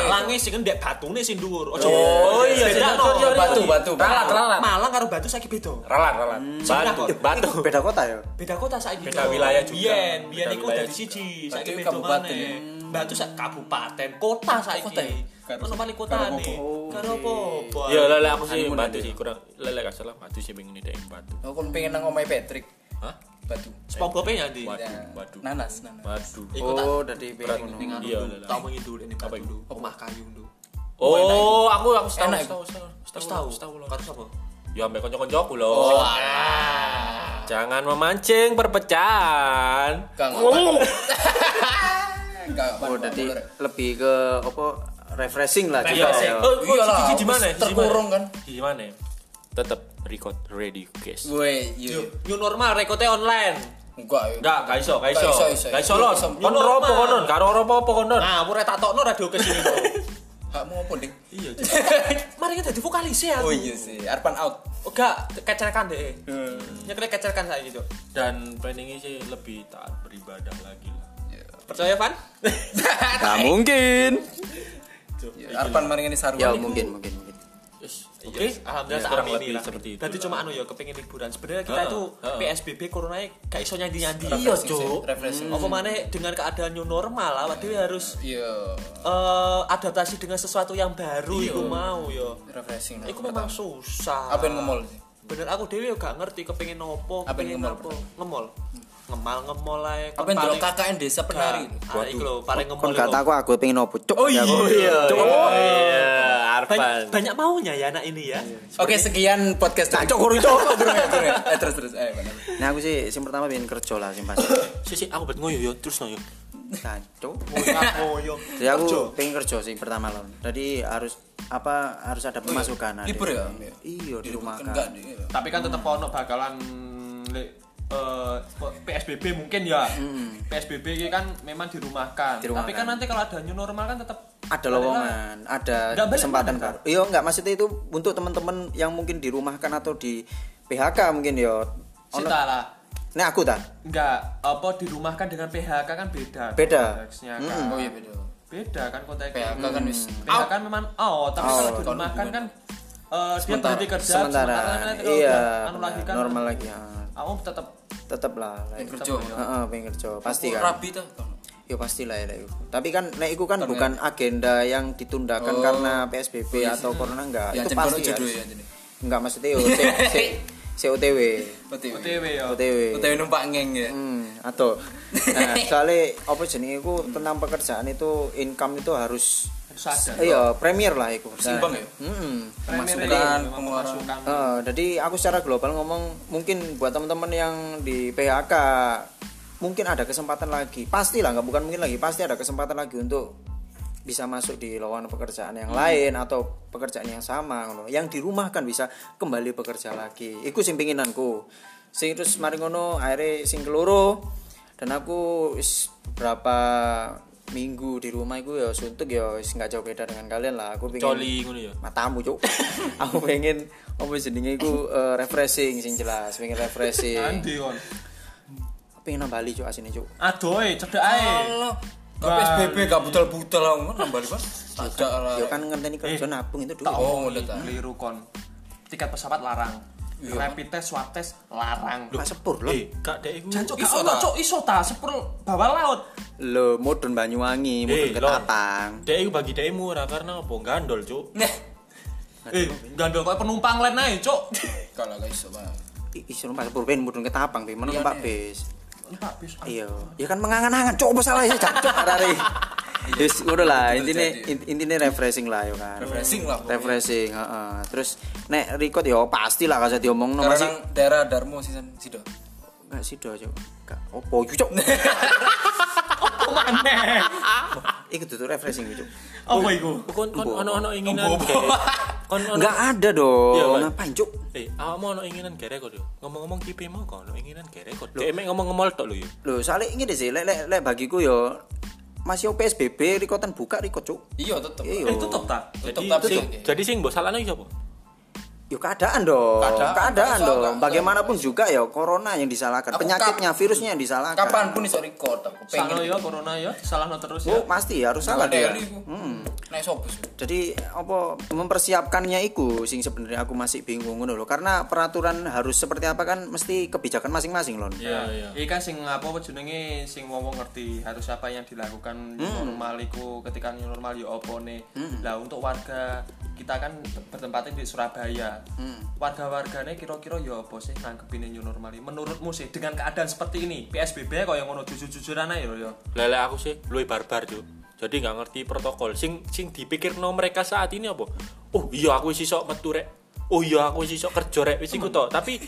Malange sing ndek batune sing dhuwur. Ojo.
Oh iya,
Beda,
sorry,
no.
sorry, sorry. Batu, batu.
Ralat,
Batu.
ralat. Malang karo Batu saiki beda.
Ralat, ralat. Batu,
Singapura.
batu.
Iku Beda kota ya.
beda kota saiki
Beda wilayah juga.
biyen biyen
Beda
iku
wilayah
dadi
juga.
siji
Berarti
saiki beda
kabupaten.
kabupaten batu sak kabupaten kota saiki
Kota ya?
ono paling kota ne karo apa
Iya, lah lek aku sih batu sih kurang lek lek gak salah batu sih pengen ini batu.
Aku kan pengen nang omahe Patrick.
Hah?
Batu.
SpongeBob ya ndi
Waduh,
Ya.
waduh.
Nah.
Nanas, nanas.
Batu.
Oh, dadi pe ngono.
Iya,
iya
lah.
tau mengi dulu ini apa dulu omah kayu dulu
Oh, aku aku tahu,
Enak,
tahu, tahu,
terus
tahu.
tau karo sapa
Oh, iya.
Ya ambek kanca-kancaku lho.
Ah.
Jangan memancing Oh. perpecahan.
Kang.
[laughs]
Kang.
Oh, jadi lebih ke apa refreshing lah juga
Iya.
ya.
Oh,
Iya lah,
gigi gimana?
wis terkurung kan.
Gigi mana? Tetap record ready guys.
Woi, iya.
New normal recordnya online.
Enggak, iya.
Enggak, gak iso,
Gak
gak iso.
iso, iso.
Gak iso lon.
Iso.
Kon ora apa konon, karo ora apa konon.
Nah, aku rek tak tokno radio ke sini.
[laughs]
Bro.
Hakmu apa, Dik? Iya.
[laughs] Mari kita dadi vokalis ya.
Oh
aku.
iya sih, Arpan out.
Oh, Enggak, kecerkan deh. Nyekrek kecerkan saya gitu.
Dan planningnya sih lebih taat beribadah lagi lah.
Percaya, Van?
Nggak mungkin.
Arpan maringani sarungan.
Ya
iku.
mungkin mungkin mungkin.
Yes. Oke.
Oke,
Ya,
kurang
alhamdulillah saat ini
lebih
lah.
seperti itu.
Berarti cuma anu ya kepengen liburan. Sebenarnya kita
Heeh,
itu
heeh.
PSBB corona ya, gak iso nyandi-nyandi.
Iya, Cuk. Refreshing.
Apa maneh dengan keadaan new normal awak dhewe harus
Iya,
eh, adaptasi dengan sesuatu yang baru iku mau ya.
refreshing.
Iku memang susah.
apa yang ngemol sih?
Bener aku dhewe yo gak ngerti kepengen nopo,
Apa yang
kepengen
ngemol,
apa. Ngemol. Ngemal ngemol ae.
Apa yang delok KKN desa penari?
Ah, iku lho, paling ngemol.
Kon
iku.
kata aku aku pengen opo cuk.
Oh
Ya,
iya.
aku.
Cuk. Oh iya. Arfan.
Banyak, banyak maunya ya anak ini ya.
Oke, sekian podcast dari.
Cuk,
[laughs]
kurang cuk.
Eh, terus terus. Ayo, benar.
Nah aku sih sing pertama pengen kerja lah sing pasti.
Si si aku bet ngoyo yo terus ngoyo.
Kancuk.
Oh, yo.
Jadi aku pengen kerja sih pertama loh. Jadi harus apa harus ada pemasukan.
Libur
adik.
ya?
Iya di rumah kan.
Enggak, ya? Dik.
tapi kan tetap ono bakalan le- eh, PSBB mungkin ya PSBB ini kan memang dirumahkan.
Hmm. Dirumahkan.
tapi kan nanti kalau ada new normal kan tetap
ada lowongan, ada
Nggak balik
kesempatan
mana,
baru. Iya, enggak maksudnya itu untuk teman-teman yang mungkin dirumahkan atau di PHK mungkin ya. Ono-
Sita lah
Nah, aku tak
enggak apa dirumahkan dengan PHK kan beda
Beda. Hmm.
konteksnya kan.
Oh iya, beda.
beda kan konteksnya
PHK kan wis
PHK kan memang oh tapi kalau dirumahkan kan eh, dia
Sementara.
berhenti kerja
sementara.
sementara kan nanti kalau
Iya,
udah anu lagi
benar.
kan oh,
normal lagi. Ya.
kamu tetap
Tetap lah. lah.
yang kerja.
Heeh, pengen kerja. Pasti kan.
Oh, Rabi tuh.
Ya pasti lah ya. lah, iku. Tapi kan nek iku kan bukan agenda yang ditundakan karena PSBB atau corona enggak.
Ya,
Ah, itu
jadi
pasti kan.
kono jodoh
harus.
iya.
ya, jadi.
Enggak maksudnya yo C, C, COTW.
OTW.
OTW ya
OTW.
OTW numpak ngeng ya.
Hmm, atau nah, soalnya apa jenenge iku tentang pekerjaan itu income itu harus
harus sadar
Iya, premier lah Hmm. itu.
Simpang ya?
Mm-mm. kan,
Pemasukan, pengeluaran.
pemasukan
Eh, jadi aku secara global ngomong mungkin buat teman-teman yang di PHK mungkin ada kesempatan lagi. Pastilah nggak bukan mungkin lagi, pasti ada kesempatan lagi untuk bisa masuk di lowongan pekerjaan yang lain atau pekerjaan yang sama ngono. Yang di rumah kan bisa kembali bekerja lagi. Iku sing pinginanku. Sing terus mari ngono akhirnya sing keloro dan aku wis beberapa minggu di rumah iku ya suntuk ya wis nggak jauh beda dengan kalian lah aku pengen
Coli ngono ya.
matamu cuk [laughs] aku pengen apa jenenge iku eh, refreshing sing jelas pengen refreshing
Nanti kon.
pengen nambah Bali cuk asine cuk
Adoy, cedak ae.
Oh,
Allah. Tapi SBB gak butel-butel aku kan nambah lipat. Ada lah.
ya kan ngenteni kerja nabung itu dulu
Oh, udah Eh. tak.
Keliru kon. Tiket pesawat larang. Rapid test, swab test larang.
Mak sepur lho.
Eh, kak dek iku.
Jancuk gak
iso
ono,
ta?
Cuk, iso ta sepur bawah laut.
Lho, mudun Banyuwangi, mudun
Eh,
Ketapang.
Dek iku bagi dek murah karena apa gandol, Cuk.
Eh, gandol koyo penumpang lain ae, Cuk.
Kalau gak iso, Bang.
Ih, ih, suruh Pak Sepur ben mudun Ketapang ben menung Pak Bis.
Numpak bis.
Iya, ya kan mengangan-angan cuk apa salah ya cuk
[laughs]
hari. Yes, udah lah
Betul
intinya
jadi.
in- intinya refreshing lah ya kan.
Refreshing lah pokoknya.
Refreshing, heeh. Terus nek record ya pastilah gak usah diomongno
Karena
masih
nang daerah Darmo sih San. sido.
Enggak sih do, Cuk. Enggak. Opo yo, Cuk?
Maneh.
Iku tuh refreshing, Cuk.
Apa iku?
Kon kon
Mbo.
ono-ono inginan. [laughs] Dek. Kon ono.
Enggak ada
Oh, Iya,
dong.
Pak.
Ngapain, Cuk?
Eh, awakmu ono inginan gere kok yo. Ngomong-ngomong kipi mau kok ono inginan gere kok. Dek mek ngomong ngemol tok lho ya. yo.
Loh, soalnya ini deh sih, lek lek lek bagiku yo masih PSBB, rekotan buka, record, Cuk.
Iya, tetep.
Iya.
Eh, tutup ta?
Tetep
Jadi
tapi
sing,
tetep.
jadi sing mbok salahno iku sapa?
Yo keadaan dong, keadaan,
Keadaan, nggak usah,
dong.
nggak
Bagaimanapun juga ya corona yang disalahkan,
Aku
penyakitnya,
kap-
virusnya yang disalahkan.
Kapan pun iso record aku
Salahno
pengen.
yo ya, corona yo, salahno terus
Oh,
ya.
pasti harus salah
Salah
dia. Hmm.
Deli. Naik sopus. yo.
Jadi apa mempersiapkannya iku sing sebenarnya aku masih bingung ngono lho karena peraturan harus seperti apa kan mesti kebijakan masing-masing lho.
Iya, iya. kan sing apa apa jenenge sing wong wong ngerti harus apa yang dilakukan new normal iku ketika new normal yo opo nih. Lah untuk warga kita kan bertempatnya di Surabaya. Warga-warganya kira-kira yo apa sih nanggepin new normal ini? Menurutmu sih dengan keadaan seperti ini PSBB kok yang ngono jujur-jujuran ya. aja yo yo.
Lele aku sih luwih barbar, Cuk. Jadi nggak ngerti protokol. Sing sing dipikirno mereka saat ini apa? Oh, iya aku wis iso metu rek. Oh iya aku wis iso kerja rek wis iku tok. Tapi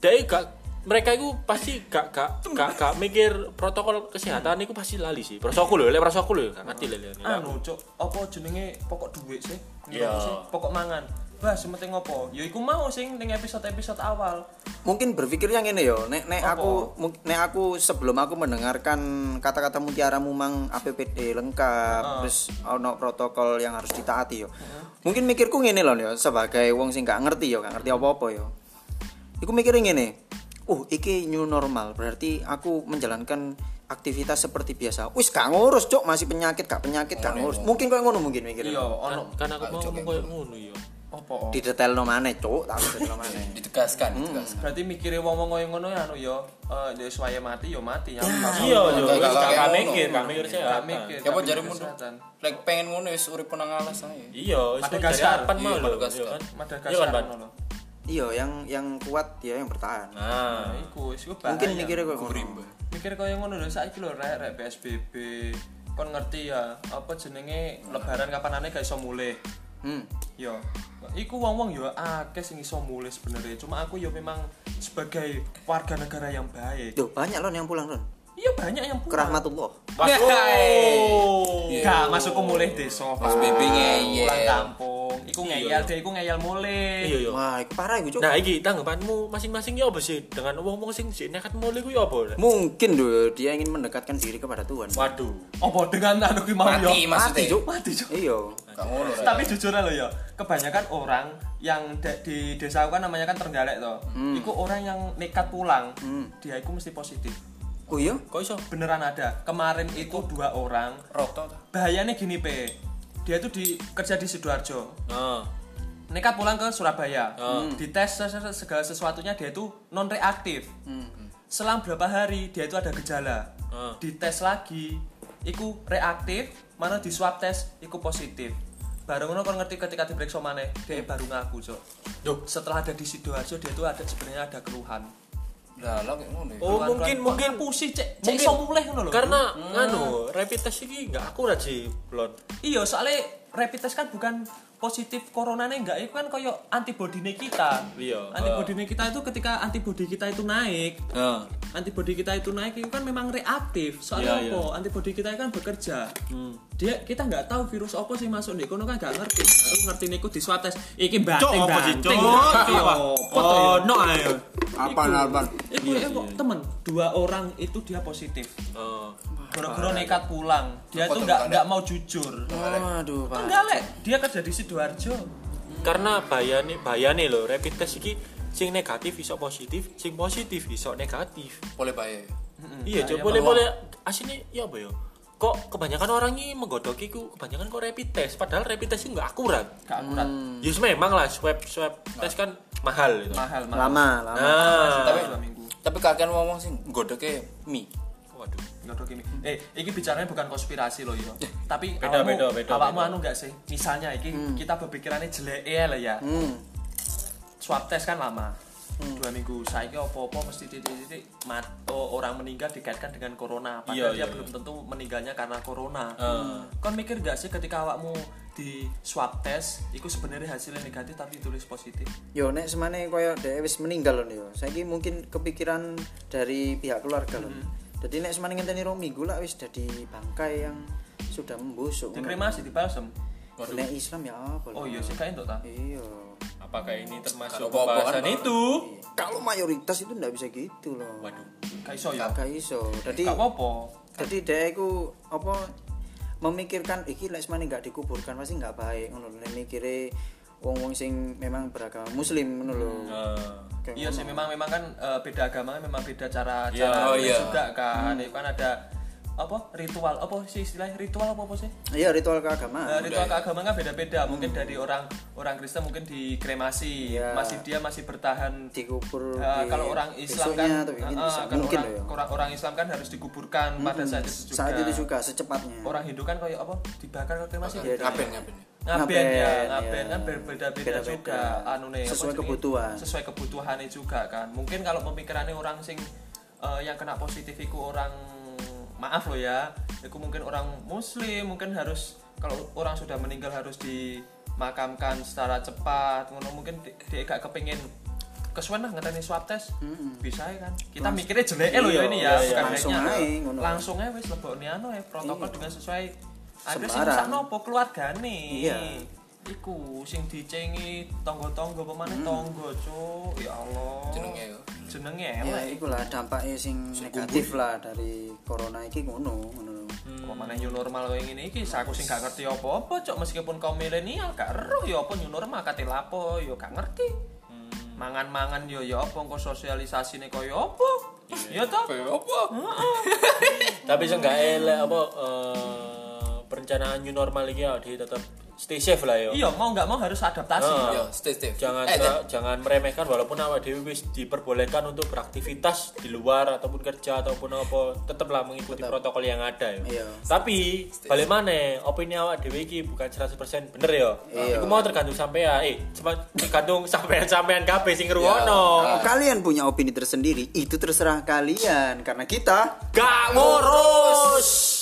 dek gak mereka itu pasti gak gak gak gak mikir protokol kesehatan itu pasti lali sih. Prosoku lho, lek prosoku lho, gak ngerti lek lek.
anu cok apa jenenge pokok duit sih Menurutmu sih? pokok mangan Wah, sementing ngopo? Ya iku mau sing ning episode-episode awal.
mungkin berpikirnya ngene yo nek nek aku mung- nek aku sebelum aku mendengarkan kata-kata mutiara mumang APPD lengkap terus ono protokol yang harus ditaati yo mungkin mikirku ngene loh yo sebagai wong sing gak ngerti yo gak ngerti apa-apa yo iku mikirnya ngene uh iki new normal berarti aku menjalankan aktivitas seperti biasa wis gak ngurus cok masih penyakit gak penyakit gak ngurus mungkin kok ngono mungkin
Iya.
mikirnya
Kan, kan aku mau ngomong koyo ngono ya.
di detail no maneh cok tak detail maneh
ditegaskan ditegaskan
Berarti mikire wong-wong koyo ngono ya anu ya, eh ya suwaya mati ya mati ya.
Iya, yo.
Gak- gak- gak
Gak
ngono.
mikir, gak mikir
Gak
sehat.
mikir.
ya apa
gak
jarimu
mikir kesehatan.
lek pengen ngono wis urip nang alas ae
Iya,
Madagaskar.
Pan mau
Iya,
lho.
Madagaskar.
iya kan? Iya
Madagaskar
kan, Pan?
ngono lho.
iya yang yang kuat ya yang bertahan
Nah,
Nah, iku wis iku
mungkin
bahaya.
mikirnya kok ngono
mikir kaya ngono lho saiki lho rek rek PSBB kon ngerti ya apa jenenge lebaran kapanane gak iso mulih
hmm.
yo iku wong-wong yo akeh sing iso mulih sebenarnya cuma aku yo memang sebagai warga negara yang baik
Duh, banyak loh yang pulang Ron.
iya banyak yang pulang
Kerahmatullah.
gak masuk ke mulih desa
PSBB ngeyel.
pulang kampung iku ngeyel deh iku ngeyel mulih
iya yo.
Wah, itu parah itu, Cuk.
Nah, iki tanggapanmu masing-masing ya apa sih dengan wong-wong sing sik nekat mulih ku ya apa? Lek?
Mungkin loh dia ingin mendekatkan diri kepada Tuhan.
Waduh.
apa dengan anu ki mau yo
mati maksudnya
Cuk.
mati Cuk.
Iya.
gak ngono Rek.
tapi jujur aja loh ya kebanyakan orang yang de- di desa aku kan namanya kan terenggalek toh
Hmm.
itu orang yang nekat pulang dia itu mesti positif
Oh iya?
Kok iso?
beneran ada kemarin itu dua orang
roto ta
bahayanya gini pe dia itu di kerja di sidoarjo
Nah,
nekat pulang ke Surabaya
Oh.
Hmm. dites se- se- segala sesuatunya dia itu non reaktif selang berapa hari dia itu ada gejala
Hmm.
dites lagi iku reaktif mana di swab test iku positif baru ngono kon ngerti ketika diperiksa maneh dia
Hmm.
baru ngaku cok setelah ada di sidoarjo dia itu ada sebenarnya ada keluhan
lah lah kayak ngono ya.
Oh, mungkin mungkin
pusing cek
mungkin-
cek iso mulih ngono lho
karena nganu rapid test iki nggak akurat sih blon.
iya soalnya rapid test kan bukan positif coronanya enggak itu kan koyo antibodine kita
Iya.
antibodine kita itu ketika antibodi kita itu naik
Nah,
antibodi kita itu naik itu kan memang reaktif soalnya
Iya, Hmm.
apa antibodi kita kan bekerja dia kita nggak tahu virus apa sih masuk di kono kan nggak ngerti aku ngerti niku di swab test iki banting
apa sih,
banting
Cok?
Iya,
Apa? Iya,
apa toh ya?
no ayo.
Apa Alban?
Iku eh, kok temen dua orang itu dia positif gara-gara nekat pulang dia tuh nggak nggak mau jujur
Waduh, Pak.
enggak lek dia kerja di sidoarjo
karena bayane bayane lho rapid test iki sing negatif iso positif, sing positif iso negatif.
boleh bae
Iya, coba boleh boleh asine ya apa ya? Kok kebanyakan orang ini menggodoki ku kebanyakan kok rapid test, padahal rapid test itu nggak akurat.
gak akurat
Yus memang Ya, lah swab swab tes kan mahal itu.
mahal mahal
Lama, lama.
Nah,
tapi
dua minggu
tapi kakek ngomong sih godoke mie
waduh.
nggak ada gini eh ini bicaranya bukan konspirasi loh yo tapi
Hmm. Eh, Beda,
awakmu-
beda, beda, Hmm.
awakmu
beda.
anu nggak sih misalnya ini kita berpikirannya jelek ya lah ya
Hmm.
swab test kan lama
Hmm.
dua minggu saya opo-opo mesti titik-titik mat oh, orang meninggal dikaitkan dengan corona
Iya,
padahal dia
Hmm. iya,
belum tentu meninggalnya karena corona kon mikir gak sih ketika awakmu di swab test itu sebenarnya hasilnya negatif tapi ditulis positif
Yo nek semane koyo dhewe wis meninggal lho yo. Saiki mungkin kepikiran dari pihak keluarga lho.
Hmm.
Jadi nek semane ngenteni rong minggu lah wis dadi bangkai yang sudah membusuk.
dikremasi di balsem
Nek Islam ya apa lho?
oh iya sih kayak itu tak
Iya.
Apakah ini
Kalau
termasuk
bawa-bawaan
pembahasan
mah.
itu?
Kalau mayoritas itu ndak bisa gitu loh. Waduh.
kayak iso ya
Gak iso. Jadi
gak apa-apa
jadi dia itu apa memikirkan iki lek semane gak dikuburkan pasti nggak baik ngono lho Nek mikire wong-wong sing memang beragama muslim ngono lho.
Eh,
Kayak
Iya sih
ngono.
memang memang kan eh, beda agama memang beda cara cara
Iya, oh
nulis
iya.
juga kan.
Hmm.
Itu kan ada apa ritual apa sih istilahnya ritual apa apa sih?
Iya ritual
Hmm. Eh,
keagamaan.
ritual keagamaan kan
Hmm.
beda-beda. Mungkin dari orang orang Kristen mungkin dikremasi,
Iya.
masih dia masih bertahan
dikubur
Eh,
di
kalau orang Islam
besoknya
kan,
atau begini
eh,
bisa.
kan
mungkin
orang,
lho ya. Hmm,
orang orang Islam kan harus dikuburkan pada saat itu juga.
Saat itu juga secepatnya.
Orang Hindu kan kayak apa dibakar kalau kremasi
Iya,
gitu.
ngapain ngapain
ngaben ya
Ngaben,
ngaben
iya.
kan berbeda-beda
Beda-beda.
juga anu nih apa
Sesuai
jenenge?
kebutuhan.
sesuai kebutuhannya juga kan mungkin kalau pemikirannya orang sing eh, yang kena positif itu orang maaf loh ya itu mungkin orang muslim mungkin harus kalau orang sudah meninggal harus dimakamkan secara cepat ngono mungkin di- dia gak kepingin kesuwen lah ngeteni swab test bisa ya kan kita mikirnya jelek eh, lho ya ini ya bukan
Iya, langsung
baiknya.
ae, ngono. Iya.
langsung aja wis lebokne anu ya protokol dengan sesuai ada sing
Sembarang.
sak nopo keluargane
Iya.
iku sing dicengi tonggo-tonggo pemane tonggo cuk ya Allah
Jenenge ya.
jenenge
ya
elek
iku lah dampaknya sing negatif lah dari corona iki ngono ngono lho.
apa mana new normal kayak gini iki aku sing gak ngerti apa-apa cok meskipun kaum milenial gak eruh ya apa new normal kate lapo yo gak ngerti mangan-mangan yo ya apa engko sosialisasine koyo apa ya toh
Apa?
Tapi seenggaknya elek apa eh, perencanaan new normal iki ya di tetap stay safe lah yo.
iya mau nggak mau harus adaptasi
Ah.
iya.
Yo, stay safe.
Jangan
eh,
tra- jangan meremehkan walaupun awak dhewe wis diperbolehkan untuk beraktivitas di luar ataupun kerja ataupun apa tetaplah mengikuti protokol yang ada yo.
Iya.
Tapi balik mana opini awak dhewe iki bukan 100% bener yo.
Iya.
Iku mau tergantung sampean eh cuma tergantung [laughs] sampean-sampean kabeh sing ngeruwono.
Kalau Oh, kalian punya opini tersendiri itu terserah kalian karena kita
Gak ngurus.